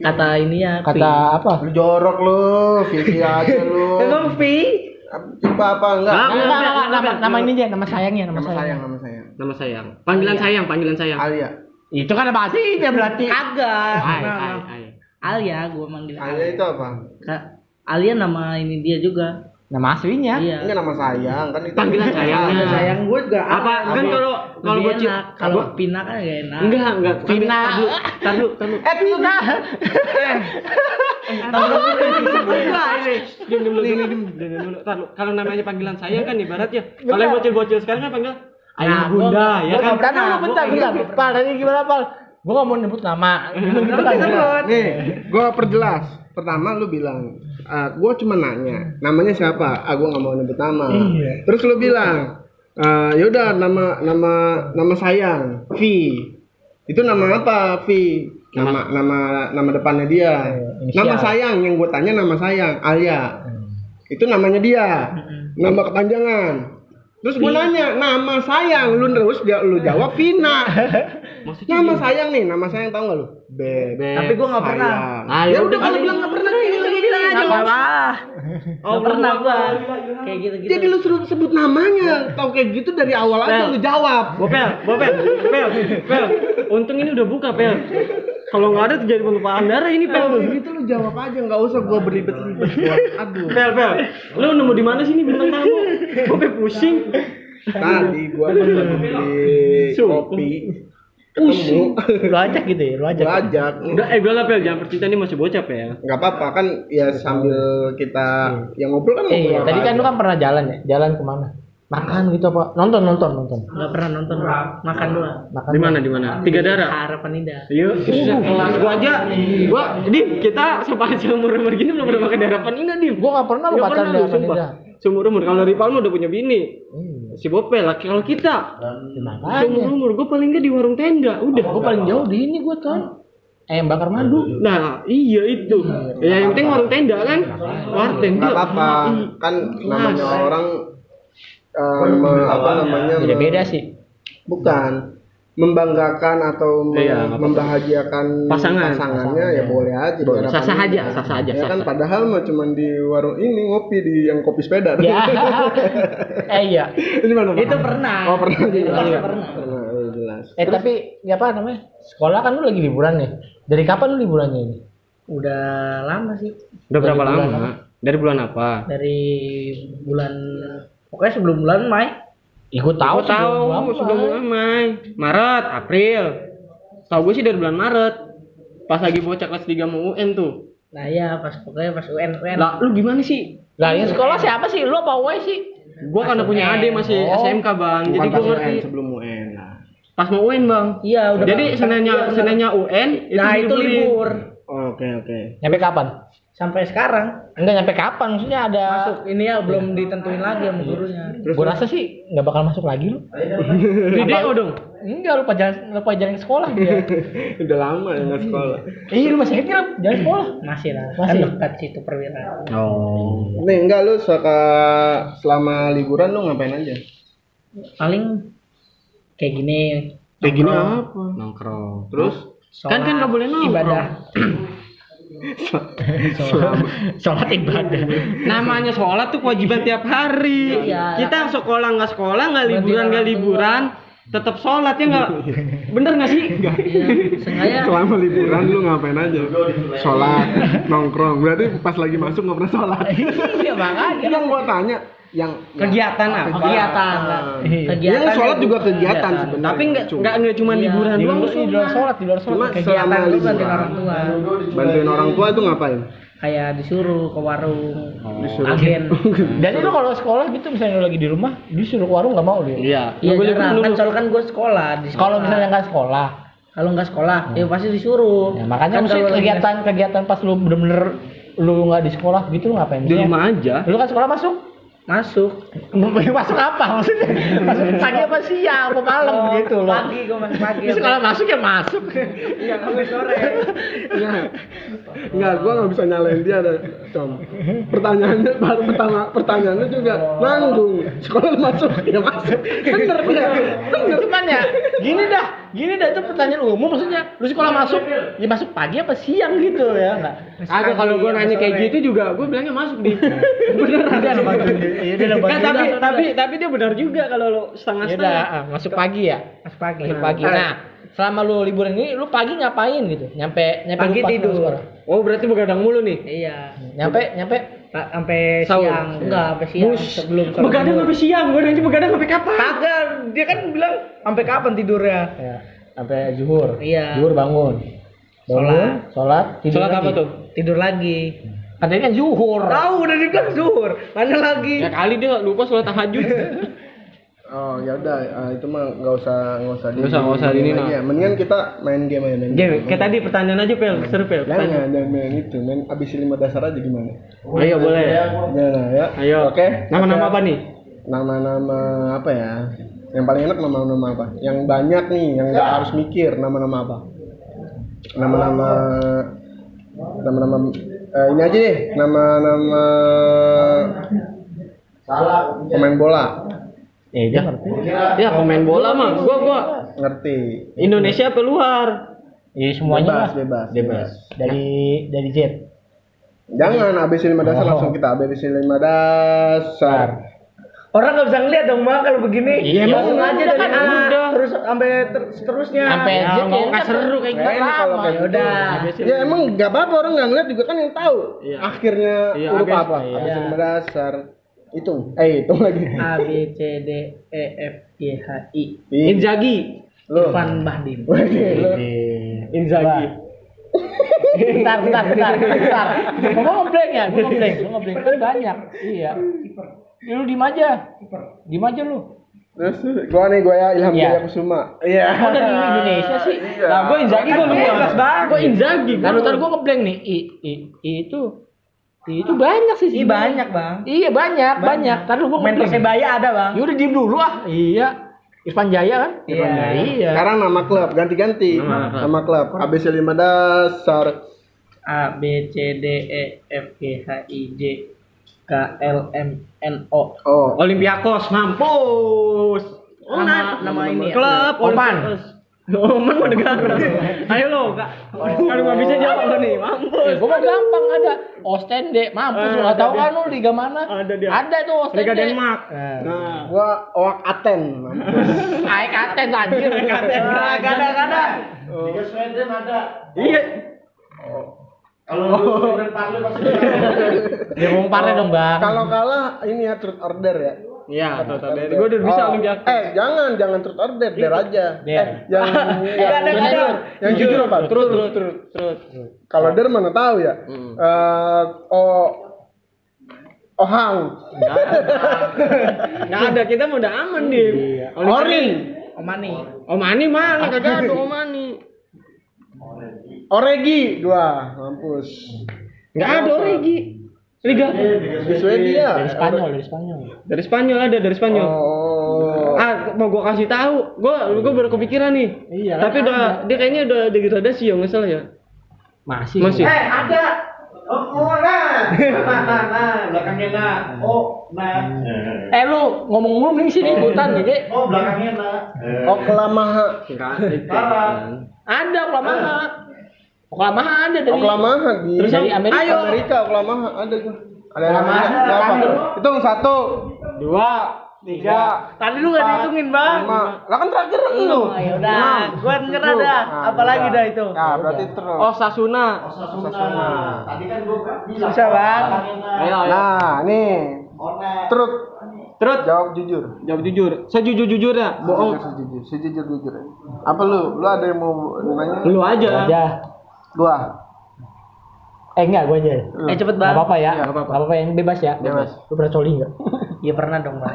S3: Kata ini ya.
S4: Kata apa?
S1: lu jorok lu visi aja lu
S3: Emang V?
S1: coba apa enggak
S2: Hah?
S4: Nama, nama, nama, nama, nama ini aja, nama sayangnya, nama,
S1: nama sayang
S4: sayang.
S1: nama sayang
S2: Nama sayang. Panggilan
S3: Iya.
S2: sayang, panggilan sayang.
S1: Alia
S4: Itu kan apa sih dia berarti?
S3: Kagak.
S2: Ai,
S3: Nah,
S2: ai, ai.
S3: Alia, gua manggil
S1: Alia
S3: Alia.
S1: itu apa
S3: Kak, Alia nama ini dia juga.
S4: Nama aslinya.
S3: Iya.
S1: enggak nama sayang kan itu
S2: Panggilan sayangnya.
S3: Sayang gue juga
S2: Apa kan kalau kalau
S3: gue
S2: gua ci-
S3: enak. Kalau
S2: gua-
S3: Pina kan gak enak.
S2: enggak enggak
S4: Vina.
S2: Tar dulu, tar dulu, tar dulu.
S4: Eh, Tina.
S3: kan
S2: Enggak ini. Diam diam dulu, diam diam diam diam dulu. Tar dulu. Kalau namanya panggilan sayang kan ibaratnya. Kalau yang bocil-bocil sekarang kan panggil ayah
S3: gua-
S2: bunda ya
S4: Bentar,
S2: kan.
S4: bentar, bentar, bentar. Pal, tadi gimana, Pal? Gua nggak mau nyebut nama. Gimana gitu kan?
S1: Nih, gue perjelas. Pertama lu bilang, "Ah, gua gue cuma nanya, namanya siapa? Ah, gue nggak mau nyebut nama. Terus lu bilang, "Ah, yaudah nama nama nama sayang, V. Itu nama apa, V? Nama nama nama depannya dia.
S4: inisial.
S1: Nama sayang yang gue tanya nama sayang, Alia. Itu namanya dia. Nama kepanjangan. Terus gue nanya nama sayang, lu terus dia lu jawab Vina.
S2: Maksudnya
S1: Nama sayang nih, nama sayang tau gak lu? Bebek.
S2: Tapi
S3: gua nggak pernah.
S1: sayang.
S2: Ah,
S1: ya
S2: ya
S1: udah kalau
S2: udah.
S1: bilang gitu. nggak pernah
S3: Ini lagi bilang aja. Gak apa
S2: Oh,
S3: Ah, pernah gua. Kayak gitu-gitu.
S1: Jadi lu suruh sebut namanya, tau kayak gitu dari awal aja
S2: Nah.
S1: lu jawab.
S2: Bopel, bopel, pel, pel. Untung ini udah buka pel. Kalau nggak ada terjadi penumpahan darah ini pel.
S1: Kalau gitu lu jawab aja, nggak usah gua berlibet-libet. Gua. Aduh.
S2: Pel, pel. Lu nemu di mana sih ini bintang tamu? Bopel pusing.
S1: Tadi gua pas lagi di
S2: Sumpah.
S1: kopi ketemu,
S4: Lu ajak gitu ya, lu ajak.
S1: gua ajak.
S2: Udah, eh udah lah pel, jangan percintaan ini masih bocah pel.
S1: Nggak apa-apa kan ya sambil kita yang ngobrol kan
S4: Eh,
S1: ngobrol
S4: iya,
S1: apa
S4: tadi kan
S1: aja.
S4: lu kan pernah jalan ya? Jalan kemana? Makan gitu apa? Nonton, nonton, nonton.
S3: Gak pernah nonton. Makan doang.
S4: Makan.
S2: Di mana, di mana? Tiga darah.
S3: Harapan indah.
S2: Iya, susah kelas gua aja. Gua, Dim, kita sepanjang umur umur gini belum pernah makan darapan ini, Dim.
S4: Gua nggak pernah lu
S2: Nggak
S4: pacaran
S2: pernah lu,
S4: dengan
S2: sumpah.
S4: Anida.
S2: Seumur umur kalau Ripal mah udah punya bini.
S4: Iya.
S2: Si Bopel, laki kalau kita seumur
S4: Makanya.
S2: umur gua paling nggak di warung tenda, udah.
S4: Gua paling jauh di ini gua tuh. Ayam bakar madu.
S2: Nah, iya itu. Ya yang
S4: iya.
S2: penting warung tenda kan. Warung tenda.
S1: nggak apa-apa kan namanya
S2: Iya.
S1: orang eh,
S2: Kan
S1: me- apa namanya me-
S4: Beda-beda sih.
S1: bukan membanggakan atau mem-
S2: Iya, nggak apa-apa.
S1: membahagiakan
S2: Pasangan. iya.
S1: pasangannya ya boleh aja
S2: Boleh.
S1: diharapkan
S2: Sah-sah
S1: juga.
S2: aja, sah-sah aja,
S1: ya kan
S2: sah-sah.
S1: padahal mah cuman di warung ini ngopi di yang kopi sepeda
S4: Ya. eh iya.
S1: Ini mana, Pak?
S3: Itu pernah.
S1: oh pernah
S3: Itu
S1: jelas
S3: pasti pernah.
S1: pernah iya, jelas
S4: Eh tapi ya apa namanya? Sekolah kan lu lagi liburan nih. Dari kapan lu liburannya ini?
S3: Udah lama sih.
S2: Udah berapa
S4: Dari
S2: lama?
S4: bulan
S2: Dari bulan apa?
S3: Dari bulan... Pokoknya sebelum bulan Mei.
S4: Ya, gua tahu
S2: Aku tahu sudah bulan Mei, Maret, April. Tahu gue sih dari bulan Maret. Pas lagi bocah kelas 3 mau UN tuh.
S3: Nah ya pas pokoknya pas UN UN.
S2: Lah, lu gimana sih?
S4: Lah, yang sekolah siapa sih? Lu apa Uwe sih?
S2: Gua karena punya adik masih
S4: oh.
S2: SMK, Bang.
S1: bukan
S2: Jadi
S1: pas
S2: gua ngerti
S1: UN sebelum UN lah
S2: pas mau UN, Bang.
S3: Iya udah.
S2: Jadi
S3: Pak.
S2: senanya
S3: Iya, benar.
S2: senanya UN itu
S3: Nah itu
S2: dibeli.
S3: libur
S1: oke oke
S4: Nyampe kapan?
S3: sampai sekarang.
S4: Enggak nyampe kapan maksudnya ada
S3: Masuk ini ya belum ditentuin lagi sama gurunya.
S4: Gue rasa sih nggak bakal masuk lagi lu.
S2: Di DO dong.
S4: Enggak, lupa jalan lupa jalan ke sekolah dia.
S1: udah lama ya
S2: Iya.
S1: nggak sekolah
S4: Ih, lu masih kecil jalan sekolah.
S3: Masih lah.
S4: Masih.
S3: Kan dekat situ perwira.
S2: Oh.
S1: nih enggak lu suka selama liburan lu ngapain aja
S3: Paling kayak gini
S1: kayak gini apa
S2: Nongkrong.
S1: terus
S3: sholat,
S2: Kan- kan nggak boleh nongkrong.
S3: ibadah.
S4: Sholat ibadah.
S2: Namanya sholat tuh kewajiban tiap hari.
S3: Iya.
S2: Kita sekolah nggak sekolah, nggak liburan nggak liburan. tetap sholat ya nggak bener nggak sih
S3: Sengaja
S1: Selama liburan lu ngapain aja? Sholat, nongkrong. Berarti pas lagi masuk nggak pernah sholat.
S3: iya makanya
S1: Yang gua tanya, yang
S2: kegiatan apa
S3: kegiatan
S4: Iya.
S3: kegiatan
S1: Iya, sholat juga kegiatan sebenarnya.
S2: tapi nggak
S1: Cuma-
S2: nggak nggak cuma
S3: Iya.
S2: liburan
S4: Di
S2: doang
S4: luar, di luar sholat, di luar
S1: Cuma
S4: sholat. Kayak
S1: selama
S3: kegiatan lu bantuin
S1: liburan.
S3: orang tua
S1: bantuin orang tua itu ngapain?
S3: kayak disuruh ke warung
S4: Oh.
S1: Disuruh.
S3: agen
S4: Jadi lu kalau sekolah gitu misalnya lu lagi di rumah, disuruh ke warung nggak mau
S2: iya
S4: lu. ya?
S2: Nggak
S3: iya
S2: boleh ikut
S3: jarang kan
S2: dulu.
S3: soalnya kan gue sekolah di sekolah
S4: Kalau misalnya nggak sekolah,
S3: kalau nggak sekolah ya pasti disuruh
S4: ya, makanya
S3: Kan
S4: mesti
S3: kalau lagi-
S4: kegiatan-kegiatan pas lu bener-bener lu nggak di sekolah gitu lu ngapain?
S2: di
S4: Misalnya,
S2: rumah aja
S4: Lu kan sekolah masuk?
S3: masuk
S4: masuk apa maksudnya? Masuk pagi apa siang apa malam
S3: Oh,
S4: gitu loh.
S3: pagi gue masuk pagi
S4: Di sekolah masuk ya masuk.
S3: iya gue sore
S1: Iya. Enggak, gua nggak bisa nyalain dia ada com. Pertanyaannya baru pertama pertanyaannya juga nanggung. Sekolah lu masuk, ya masuk. Bener dia. Bener.
S4: Cuman ya, gini dah, gini dah itu pertanyaan umum maksudnya. Lu sekolah masuk, ya masuk pagi apa siang gitu ya nggak?
S2: Agak kalau gue nanya kayak gitu juga, gue bilangnya masuk di. Beneran.
S4: Iya, nampak juga. Iya, dia nampak
S2: Nggak,
S4: juga.
S2: tapi tapi tapi dia benar juga kalau lo
S4: Ya
S2: setengah-setengah.
S4: udah, ah, masuk pagi ya.
S3: masuk pagi
S4: Masuk pagi. Nah, selama lu liburan ini lu pagi ngapain gitu? Nyampe nyampe
S3: Pagi
S4: lu pas
S3: tidur.
S4: sekolah.
S2: Oh, berarti begadang mulu nih.
S3: iya
S4: Nyampe nyampe
S3: Pa- sampai
S2: Sahur.
S3: siang enggak sampai siang
S2: Bus.
S3: sebelum sholat
S2: Begadang
S3: zuhur.
S2: sampai siang, gue nanya begadang sampai kapan?
S3: kagak dia kan bilang sampai kapan tidurnya
S4: ya, sampai zuhur.
S3: Iya.
S4: Zuhur bangun. Bangun, sholat, tidur.
S2: Sholat apa
S4: lagi.
S2: tuh?
S3: tidur lagi
S4: Katanya kan zuhur.
S3: tahu udah dibilang zuhur mana lagi
S2: Ya kali dia lupa sholat tahajud.
S1: Oh, ya udah eh, itu mah nggak usah nggak usah
S2: Nggak usah- nggak usah
S1: di
S2: di-
S1: lagi ya. Mendingan kita main game aja main game.
S2: Game, kayak tadi pertanyaan aja pel, seru pel.
S1: Nah,
S2: Pertanyaan.
S1: Jangan, jangan main itu, main gitu, abis lima dasar aja gimana?
S2: Ayo boleh.
S1: Jangan ya.
S2: Ayo.
S1: Oke.
S2: Nama-nama apa nih?
S1: Nama-nama apa ya? Yang paling enak nama-nama apa? Yang banyak nih, yang nggak harus mikir nama-nama apa? Nama-nama nama-nama eh, ini aja deh, nama-nama salah pemain bola.
S2: Ya udah. Ya pemain bola mah, gue gue
S1: Ngerti.
S2: Indonesia apa luar?
S4: Ya
S1: bebas,
S4: semuanya lah.
S1: bebas, bebas.
S4: Dari dari Z.
S1: Jangan ABC 5 dasar
S4: Oh.
S1: langsung kita ABC 5 dasar.
S3: orang nggak bisa ngeliat dong mak kalau begini
S4: Iya, emang
S3: langsung aja
S4: udah
S3: dari
S4: kan,
S3: A
S2: udah.
S3: terus sampai ter- seterusnya
S4: Sampai
S2: Ya,
S4: Z
S2: mau
S4: ya,
S2: nggak
S4: kan
S2: seru kayak
S4: kan
S1: Enak kalau
S4: lama.
S1: kayak gitu.
S3: Yaudah.
S1: Ya emang nggak apa-apa orang nggak ngeliat juga kan yang tahu
S2: Iya.
S1: akhirnya
S2: Iya,
S1: huruf
S2: abis-
S1: apa.
S2: iya.
S1: Abis lima dasar hitung. Eh hitung lagi.
S3: A B C D E F G H I
S1: Ih,
S2: Inzaghi,
S1: Lu.
S3: Irfan Bahdim
S1: Waduh, lu.
S2: iya. Inzaghi.
S4: bentar, bentar, bentar, bentar. Gua ngeblank ya, gua ngeblank, gua ngeblank. Tadi banyak. Iya. Ya, lu diem aja. Diem aja lu.
S1: Terus gua nih gua ya Ilham
S4: Iya.
S1: Jaya Kusuma. Iya.
S4: Kok dari Indonesia sih?
S1: Iya.
S4: Nah, gua Inzaghi gua lupa.
S2: Bebas banget. Gue Inzaghi.
S4: Nah, lu ntar gua ngeblank nih. I, I, I itu I itu banyak sih.
S3: ini
S4: sebenarnya.
S3: banyak bang
S4: Iya, banyak, banyak. Ntar lu gua
S3: main
S4: ngeblank.
S3: persebaya ada bang
S4: Ya udah diem dulu ah. Iya. Irfan Jaya kan?
S3: Irfan Jaya.
S4: Iya.
S1: Sekarang nama klub ganti-ganti.
S2: Nama klub.
S1: Nama klub ABC 5 dasar.
S3: A B C D E F G H I J K L M N O
S1: Oh,
S2: Olympiakos mampus.
S3: Oh, nama- nama ini ya?
S2: Klub
S4: Oman.
S2: Olympiakos. Oman mau dengar. Ayo lo, Kak. Kalau nggak Oh. Kan bisa jawab lo nih, mampus.
S4: Ya, gua mah gampang ada Ostende, mampus lu nggak tahu kan lu liga mana?
S2: Ada dia.
S4: Ada tuh Ostende.
S2: Liga Denmark.
S4: Eh.
S2: Nah,
S1: gua Oak Aten.
S4: Aik Aten anjir.
S2: Ah, gak ada, gak ada.
S5: Liga Sweden ada.
S2: Iya.
S5: Kalau lu Sweden Parle pasti ada.
S4: Ya ngomong parah dong, Bang.
S1: Kalau kalah ini ya truth order ya.
S2: Iya, tau tau dari. Gue udah bisa
S1: Oh.
S2: Olympiakos.
S1: Eh, jangan, jangan truth order, der aja.
S4: Der.
S1: Eh, yang
S4: Nggak ada, nggak ada.
S1: Yang
S2: Iya.
S1: jujur apa? Truth.
S2: terus, terus.
S1: Kalau der mana tahu ya. Eh, oh Ohang.
S2: Nggak ada, kita mah udah aman nih.
S1: Iya. Orin.
S3: Omani
S2: Omani mana? Kagak ada Omani.
S1: Oregi dua, mampus.
S2: Nggak ada Origi. Liga
S1: Di Swedia.
S4: Dari Spanyol, dari Spanyol.
S2: dari Spanyol ada dari Spanyol.
S1: Oh.
S2: Ah, mau gua kasih tahu. Gua gua baru kepikiran nih.
S4: Iya,
S2: Tapi
S4: kan
S2: udah dia kayaknya udah degradasi ya nggak salah ya.
S4: Masih.
S2: Masih.
S5: Eh, ada. Oh, oh, nah. Nah, nah, nah. Belakangnya nah. Oh, nah.
S4: Eh lu ngomong mulu mending sini
S2: iya.
S4: hutan jadi
S5: Oh, belakangnya nah.
S1: Oh, Kelamaha.
S2: Enggak.
S5: Parah.
S4: ada Oh, Oklahoma. Oklahoma ada
S2: Oh,
S4: dari
S1: Oklamaha di
S4: Terus dari Amerika.
S1: Ayo. Amerika Oklamaha ada gua. Ada yang Amerika. Berapa? Hitung satu,
S2: Dua,
S4: tiga. Tadi lu nggak dihitungin bang.
S1: Lima. Lah kan terakhir lu.
S4: Oh, ya udah, gua nyerah dah.
S1: Nah,
S4: Apalagi
S1: udah.
S4: dah itu. nah.
S1: Nah, berarti terus.
S2: Oh Sasuna.
S5: Osasuna. Tadi kan gue bilang. kan
S4: Susah, Bang.
S5: Cartagena.
S2: Ayo, ayo.
S1: Nah, nih.
S5: One.
S1: Terus
S2: Terus
S1: jawab jujur.
S2: jawab jujur. Sejujur jujurnya bohong.
S1: Sejujur, sejujur, jujur. Apa lu? Lu ada yang mau nanya?
S2: Lu aja.
S4: Ya.
S1: Gua.
S4: Eh enggak, gua aja.
S1: Lu.
S3: Eh cepet
S4: Gak
S3: bang.
S4: apa-apa ya.
S1: Iya,
S4: Gak apa-apa. Gak apa-apa yang bebas ya.
S1: Bebas.
S4: Lu pernah coli enggak?
S3: Iya pernah dong bang.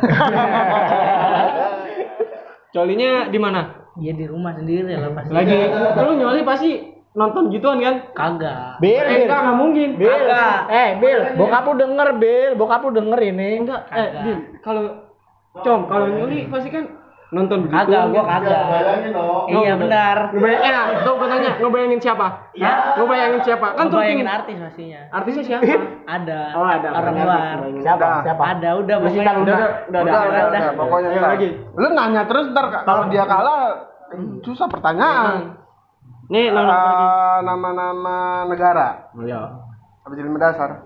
S2: Colinya di mana?
S3: Iya di rumah sendiri lah pasti.
S2: Lagi. Lu nyoli pasti nonton gituan kan?
S3: Kagak.
S4: Bil,
S2: Eh,
S4: Bil.
S2: enggak, nggak mungkin.
S4: Bil.
S3: Kagak.
S4: Eh, Bil, bokap lu denger, Bil. Bokap lu denger ini.
S2: Enggak, eh, Din, kalau Com, kalau nyoli pasti kan
S4: gitu.
S2: nonton begitu.
S3: Kagak, gua kagak.
S5: Bayangin dong.
S2: Oh,
S3: Iya benar.
S2: Ngebayang, eh, tuh gue tanya, ngebayangin siapa?
S3: Iya.
S2: Ngebayangin siapa? Kan tuh
S3: Bayangin
S2: pingin.
S3: artis pastinya.
S2: Artisnya siapa?
S3: Ada.
S2: Oh, ada.
S3: Orang
S2: Ada.
S3: luar.
S4: Siapa?
S1: Udah.
S4: Siapa?
S3: Ada udah
S4: Masih
S3: pokoknya.
S4: kan udah.
S2: udah,
S1: Udah, udah,
S3: udah,
S1: udah,
S3: udah.
S1: pokoknya
S2: Ayo
S1: ntar.
S2: lagi. Hmm.
S1: Lu nanya terus ntar kalau dia kalah susah pertanyaan. Eh,
S2: Nih, nomor lagi.
S1: Nama-nama negara.
S2: Iya.
S1: Apa jadi dasar?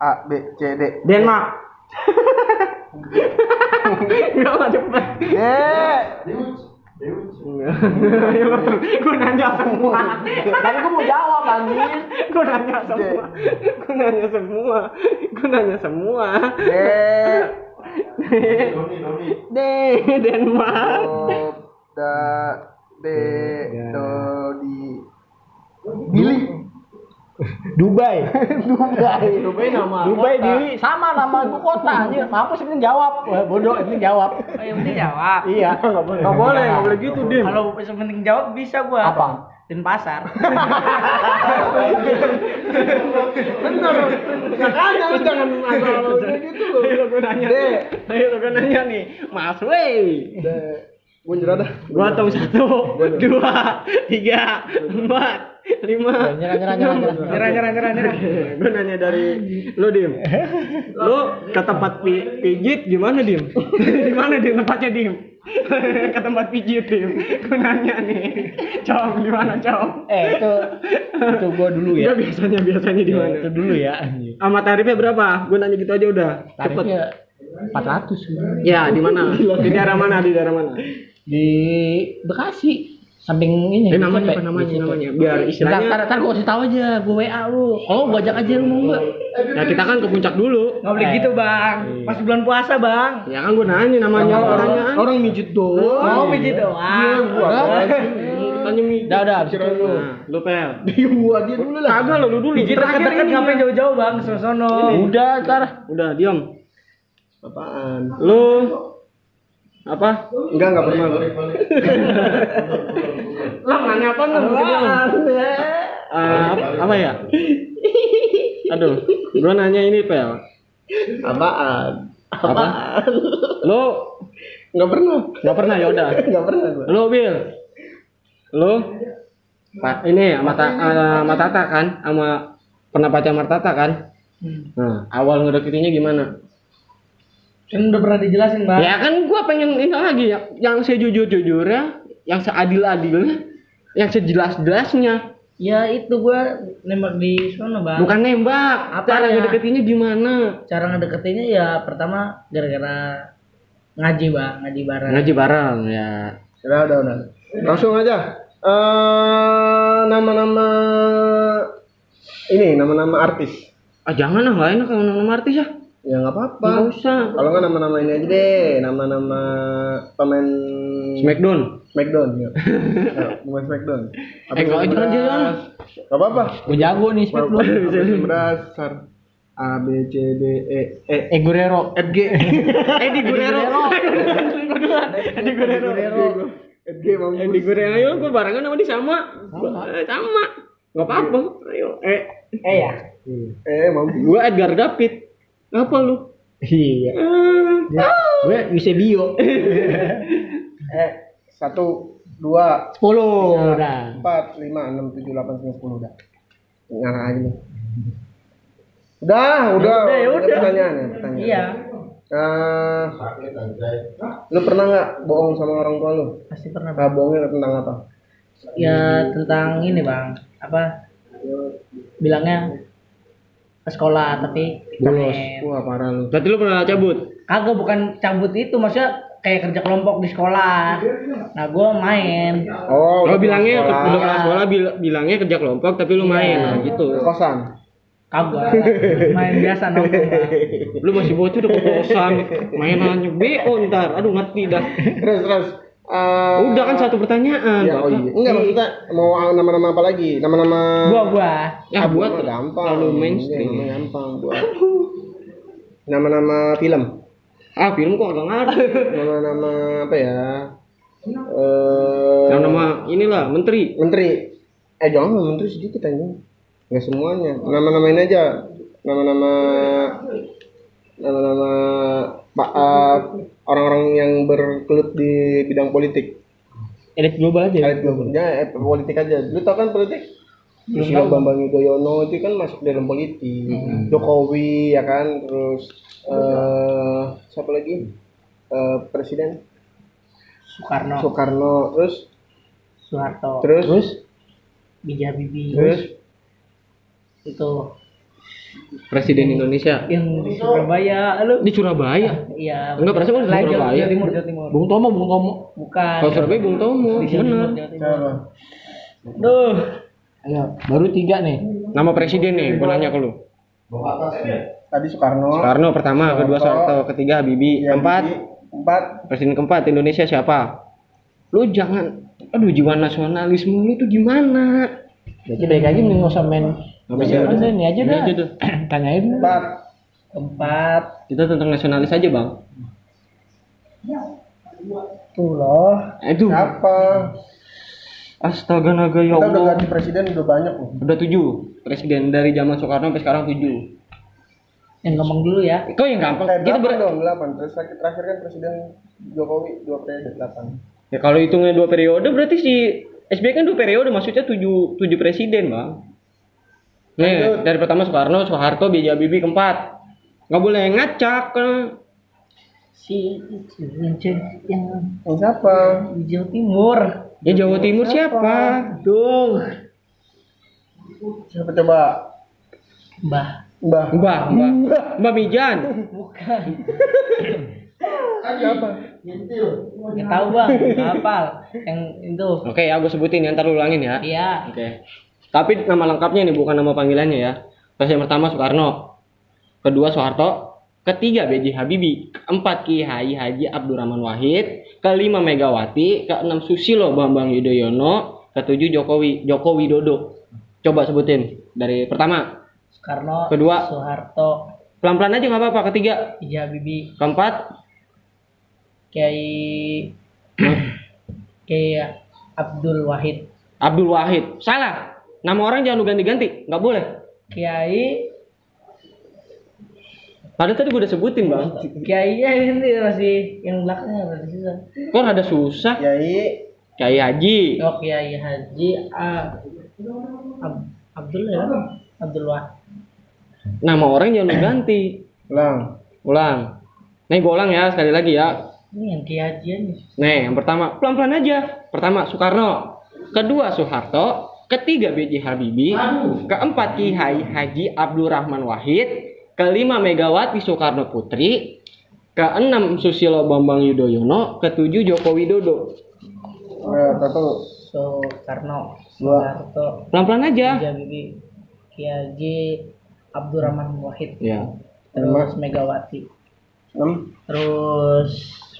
S1: A, B, C, D.
S2: Denmark. Enggak enggak cepet.
S1: D.
S2: Iya betul. Gue nanya semua.
S4: Tapi gua mau jawab anjing.
S2: Gue nanya semua. Gue nanya semua. Gue nanya semua.
S1: D.
S5: Doni, Doni.
S2: Deh, Denmark.
S1: Do, da, D, do, di. Billy.
S4: Dubai. Dubai.
S2: Dubai nama
S4: Dubai Dili sama nama ibu kota anjir. Mampus ini jawab. Wah, bodoh ini jawab.
S3: Oh, yang penting jawab.
S4: Iya, enggak boleh.
S2: Gak boleh, gak boleh gitu, Dim.
S3: Kalau penting jawab bisa gua.
S4: Apa?
S3: Dan pasar.
S1: Bener. Makanya lu jangan asal gitu lu.
S2: Ayo gue nanya.
S1: Deh.
S2: Ayo gue nanya nih. Mas wey.
S1: D. Gue nyerah dah.
S2: Gua hitung satu, dua, tiga, empat, lima.
S4: Nyerah, nyerah, nyerah, nyerah.
S2: Nyerah, nyerah, nyerah, nyerah. Gue nanya dari lu, Dim. Lu ke tempat pi- pijit gimana, Dim? Di mana, Dim? Tempatnya, Dim? ke tempat pijit, Dim. Gue nanya nih. Com, di mana, Com?
S4: Eh, itu itu gua dulu
S2: Dia
S4: ya.
S2: biasanya biasanya di mana?
S4: Itu dulu ya anjir.
S2: Sama tarifnya berapa? Gue nanya gitu aja udah. Cepet.
S4: Tarifnya 400 sebenarnya.
S2: Ya, di mana? Di daerah mana? Di daerah mana?
S4: di Bekasi samping ini.
S2: Eh,
S4: di
S2: namanya apa
S4: Cepek, di
S2: namanya?
S4: Cepek.
S2: Namanya. Biar
S4: Ntar, ntar,
S2: istilahnya.
S4: ntar gue kasih tau aja, gue WA lu. Oh, gue ajak aja lu mau nggak?
S2: Ya kita kan ke puncak dulu.
S3: Nggak boleh
S4: Eh.
S3: gitu bang.
S2: Iya.
S3: Masih bulan puasa bang.
S2: Ya kan gue nanya namanya orangnya. kan. Orang
S1: mijit doang.
S3: Mau pijit doang.
S2: tanya mi.
S4: Udah, udah, abis itu lu.
S2: Nah, lu pel.
S1: Gua dia dulu lah.
S2: Kagak lo lu dulu.
S3: Pijit
S2: Terakhir
S3: dekat-dekat
S2: ini.
S3: ngapain jauh-jauh bang. Sosono.
S4: Udah, ntar.
S2: Udah diam.
S1: Apaan?
S2: Lu apa?
S1: Enggak, enggak pernah gua.
S2: Lah nanya apa lu? apa, apa ya? Aduh, gua nanya ini pel.
S1: Apaan?
S2: Apa? Lu
S1: Enggak pernah.
S2: nggak pernah ya udah.
S1: Enggak pernah gua.
S2: Lu Bill. Lu Pak ini sama Ta- eh, sama Tata kan? Sama pernah pacar sama Tata kan?
S3: Hmm.
S2: Nah, awal ngedeketinnya gimana?
S3: Kan udah pernah dijelasin bang.
S2: Ya kan gua pengen ini lagi ya, yang sejujur-jujurnya, yang seadil-adilnya, yang sejelas-jelasnya.
S3: Ya itu gua nembak di sono bang.
S2: Bukan nembak.
S3: Apanya?
S2: Cara ngedeketinnya gimana?
S3: Cara ngedeketinnya ya pertama gara-gara ngaji bang, ngaji bareng.
S2: Ngaji bareng ya.
S1: Udah, udah, udah. Langsung aja. Eh nama-nama ini nama-nama artis.
S2: Ah jangan lah, nggak enak kalau nama artis ya.
S1: Ya enggak apa-apa.
S2: Nggak usah.
S1: Kalau enggak nama-nama ini aja deh, nama-nama pemain
S2: Smackdown.
S1: Smackdown ya. Ayo, Pemain Smackdown.
S2: Eh, nggak, jangan, jangan.
S1: Enggak apa-apa.
S4: Gue jago nih, Smith lu.
S1: Berdasar A B C D E E
S4: Eh, Guerrero.
S1: F G
S2: Edi Eh, Guerrero. Edi Guerrero.
S1: F G mau
S2: Edi Guerrero. Ayo, gua barengan sama dia sama. Eh, Sama. Nggak apa-apa. Ayo. Eh,
S3: Eh ya.
S1: eh mau
S2: gua Edgar David. Apa lu?
S4: Iya.
S2: Eh,
S4: Gue Eusebio.
S1: eh satu dua
S2: Iya.
S4: 10 udah.
S1: empat lima enam tujuh delapan sembilan sepuluh udah nyala aja nih udah udah
S3: Udah, ya udah.
S1: pertanyaan ya pertanyaan
S3: Iya.
S1: Eh, lu pernah nggak bohong sama orang tua lu
S3: Pasti pernah bang.
S1: nah, bohongnya tentang apa
S2: Hmm.
S3: Ya tentang ini bang. Apa? Bilangnya ke sekolah tapi
S2: Bolos.
S3: internet.
S1: wah parah lu
S2: Berarti lu pernah cabut?
S3: kagak bukan cabut itu maksudnya kayak kerja kelompok di sekolah nah gue main
S1: Oh,
S2: Lo
S1: udah
S2: bilangnya
S1: pulang
S2: udah
S1: sekolah.
S2: kelas sekolah bil- bilangnya kerja kelompok tapi lu
S4: Iya.
S2: main nah gitu.
S1: kosan.
S3: kagak main biasa nongkrong Bang.
S2: Lu masih bocah udah kekosan, mainannya BO ntar. Aduh mati dah.
S1: Terus terus. eh,
S2: Udah kan satu pertanyaan,
S1: Ya, oh
S2: Bapak.
S1: iya. Enggak maksudnya mau nama-nama apa lagi? Nama-nama
S3: gua gua
S2: Ya
S1: Ah,
S2: buat
S1: mah gampang.
S2: terlalu
S1: Iya,
S2: mainstream.
S1: nama gampang buat. Nama-nama film.
S2: Ah, film kok enggak ada.
S1: Nama-nama apa ya? Eh
S2: Nama-nama inilah menteri.
S1: menteri. Eh jangan menteri sedikit aja. Enggak semuanya. Nama-nama ini aja. Nama-nama nama-nama Pak eh, orang-orang yang berkelut di bidang politik.
S4: Elit global aja.
S1: Elit global. Ya, eh, politik aja. Lu tau kan politik? Susilo Bambang Yudhoyono itu kan masuk dalam politik. Jokowi ya kan, terus eh siapa lagi? Eh, presiden
S3: Soekarno
S1: Soekarno, terus
S3: Soeharto
S1: terus Ah. terus,
S3: bija bibi itu
S2: Presiden Indonesia.
S3: yang di Surabaya lu
S2: Di Surabaya.
S3: iya
S2: Enggak, perasaan gua di
S3: Lain, Jawa-
S2: Surabaya.
S3: Jawa Timur Jawa Timur
S4: Bung Tomo, Bung Tomo.
S3: bukan
S2: Kalau Surabaya Bung Tomo,
S3: Di Jawa Timur,
S2: bener.
S3: Jawa Timur.
S4: Duh. Ayo, baru tiga nih.
S2: Nama presiden nih, gue nanya ke lu.
S1: tadi Soekarno.
S2: Soekarno pertama, kedua Soeharto, ketiga Habibie,
S3: Iya,
S1: Ya,
S2: keempat
S1: Bibi. empat
S2: presiden keempat Indonesia siapa? Lu jangan, aduh jiwa nasionalisme lu tuh gimana?
S4: Jadi balik lagi mending nggak usah main.
S2: Nggak bisa.
S4: Udah, Ini aja
S2: Ini
S4: dah.
S2: aja dah.
S4: Tanyain.
S1: Iya. empat
S3: keempat
S2: Kita tentang nasionalis aja bang.
S3: tuh loh
S2: Aduh,
S1: siapa?
S2: astaga naga ya
S1: Kita udah
S2: Allah.
S1: ganti presiden udah banyak loh.
S2: Udah tujuh presiden dari zaman Soekarno sampai sekarang tujuh.
S3: yang ngomong dulu ya
S2: Kok yang gampang?
S1: Eh, delapan
S2: Kita ber-
S1: dong, delapan. Terus lagi- terakhir kan presiden Jokowi dua periode delapan.
S2: ya kalau hitungnya dua periode berarti si SBY kan dua periode maksudnya tujuh tujuh presiden bang. Nih dari pertama Soekarno, Soeharto, B.J. Habibie keempat. Nggak boleh ngacak. eh.
S3: si itu, yang cewek- yang
S1: Yang siapa?
S3: di Jawa Timur
S2: Ya Jawa Timur siapa?
S3: dong
S1: Siapa coba?
S3: Mbah
S1: Mbah.
S2: Mbak, Mbak, Mbak Mijan.
S3: bukan
S1: Siapa?
S3: nggak tahu bang nggak hafal yang itu
S2: Oke, ya gue sebutin ya, ntar lu ulangin ya.
S3: iya
S2: Oke. Tapi nama lengkapnya nih bukan nama panggilannya ya. Presiden pertama Soekarno, kedua Soeharto, ketiga B.J. Habibie, keempat Kiai Haji Abdurrahman Wahid, kelima Megawati, keenam Susilo Bambang Yudhoyono, ketujuh Jokowi Joko Widodo. Coba sebutin dari pertama,
S3: Soekarno
S2: Kedua.
S3: Soeharto
S2: pelan-pelan aja nggak apa-apa. Ketiga,
S3: Ija Bibi
S2: keempat,
S3: Kiai Kiai Abdul Wahid
S2: Abdul Wahid. Salah. Nama orang jangan lu ganti-ganti, nggak boleh.
S3: Kiai
S2: Padahal tadi gue udah sebutin bang.
S3: Kiai ini masih yang belakangnya berarti sisa
S2: Kok rada susah?
S1: Yai.
S2: Kiai Haji.
S3: oh Kiai Haji A- Ab- Abdul ya Abdul Wahid
S2: Nama orang jangan lu ganti.
S1: Ulang.
S2: Ulang. Nih gue ulang ya sekali lagi ya.
S3: ini yang Kiai Haji ini
S2: Nih yang pertama pelan-pelan aja. Pertama Soekarno. Kedua Soeharto. Ketiga B.J. Habibie. Keempat Kiai Haji Abdurrahman Wahid. Kelima Megawati Soekarno Putri. Keenam Susilo Bambang Yudhoyono. Ketujuh Joko Widodo.
S1: Eh, satu.
S3: Soekarno
S1: Dua.
S3: Soeharto
S2: Pelan-pelan aja.
S3: Ija Bibi Kiai Haji Abdurrahman Wahid
S2: Ya.
S3: terus Megawati
S1: Enam.
S3: terus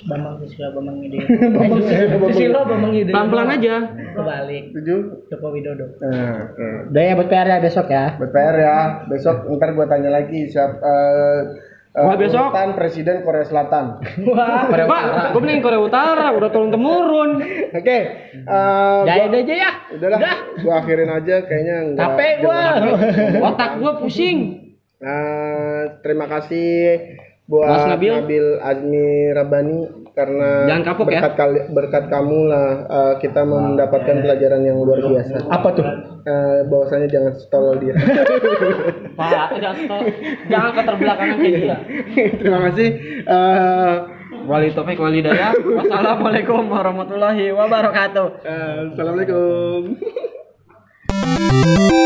S3: Bambang Susilo Bambang Yudhoyono Eh, Susilo- Susilo Bambang Yudhoyono
S2: Pelan-pelan aja.
S3: kebalik
S1: Tujuh.
S3: Joko Widodo
S1: Nah, oke.
S4: Udah ya buat PR ya besok ya.
S1: BPR ya. Besok ntar gua tanya lagi siap eh eh,
S2: Wah, besok.
S1: urutan presiden Korea Selatan.
S3: wah
S2: Pak, gue mending Korea Utara, udah turun temurun.
S1: Oke. eh,
S4: Udah
S1: gua-
S4: udah aja ya.
S1: udahlah. Gua akhirin aja kayaknya enggak.
S4: Capek gua.
S2: Otak gue pusing.
S1: Nah, terima kasih buat
S2: Mas Nabil.
S1: Nabil. Azmi Rabani karena
S2: Jangan kapok ya.
S1: berkat kali- berkat kamu lah eh, kita mendapatkan pelajaran yang luar biasa.
S4: Apa tuh?
S1: Eh, bahwasanya jangan setolol dia.
S2: Pak, jangan ke- jangan keterbelakangan kayak gitu gila.
S1: terima kasih. Eh,
S2: Wali topik wali daya. Wassalamualaikum warahmatullahi wabarakatuh.
S1: eh, assalamualaikum.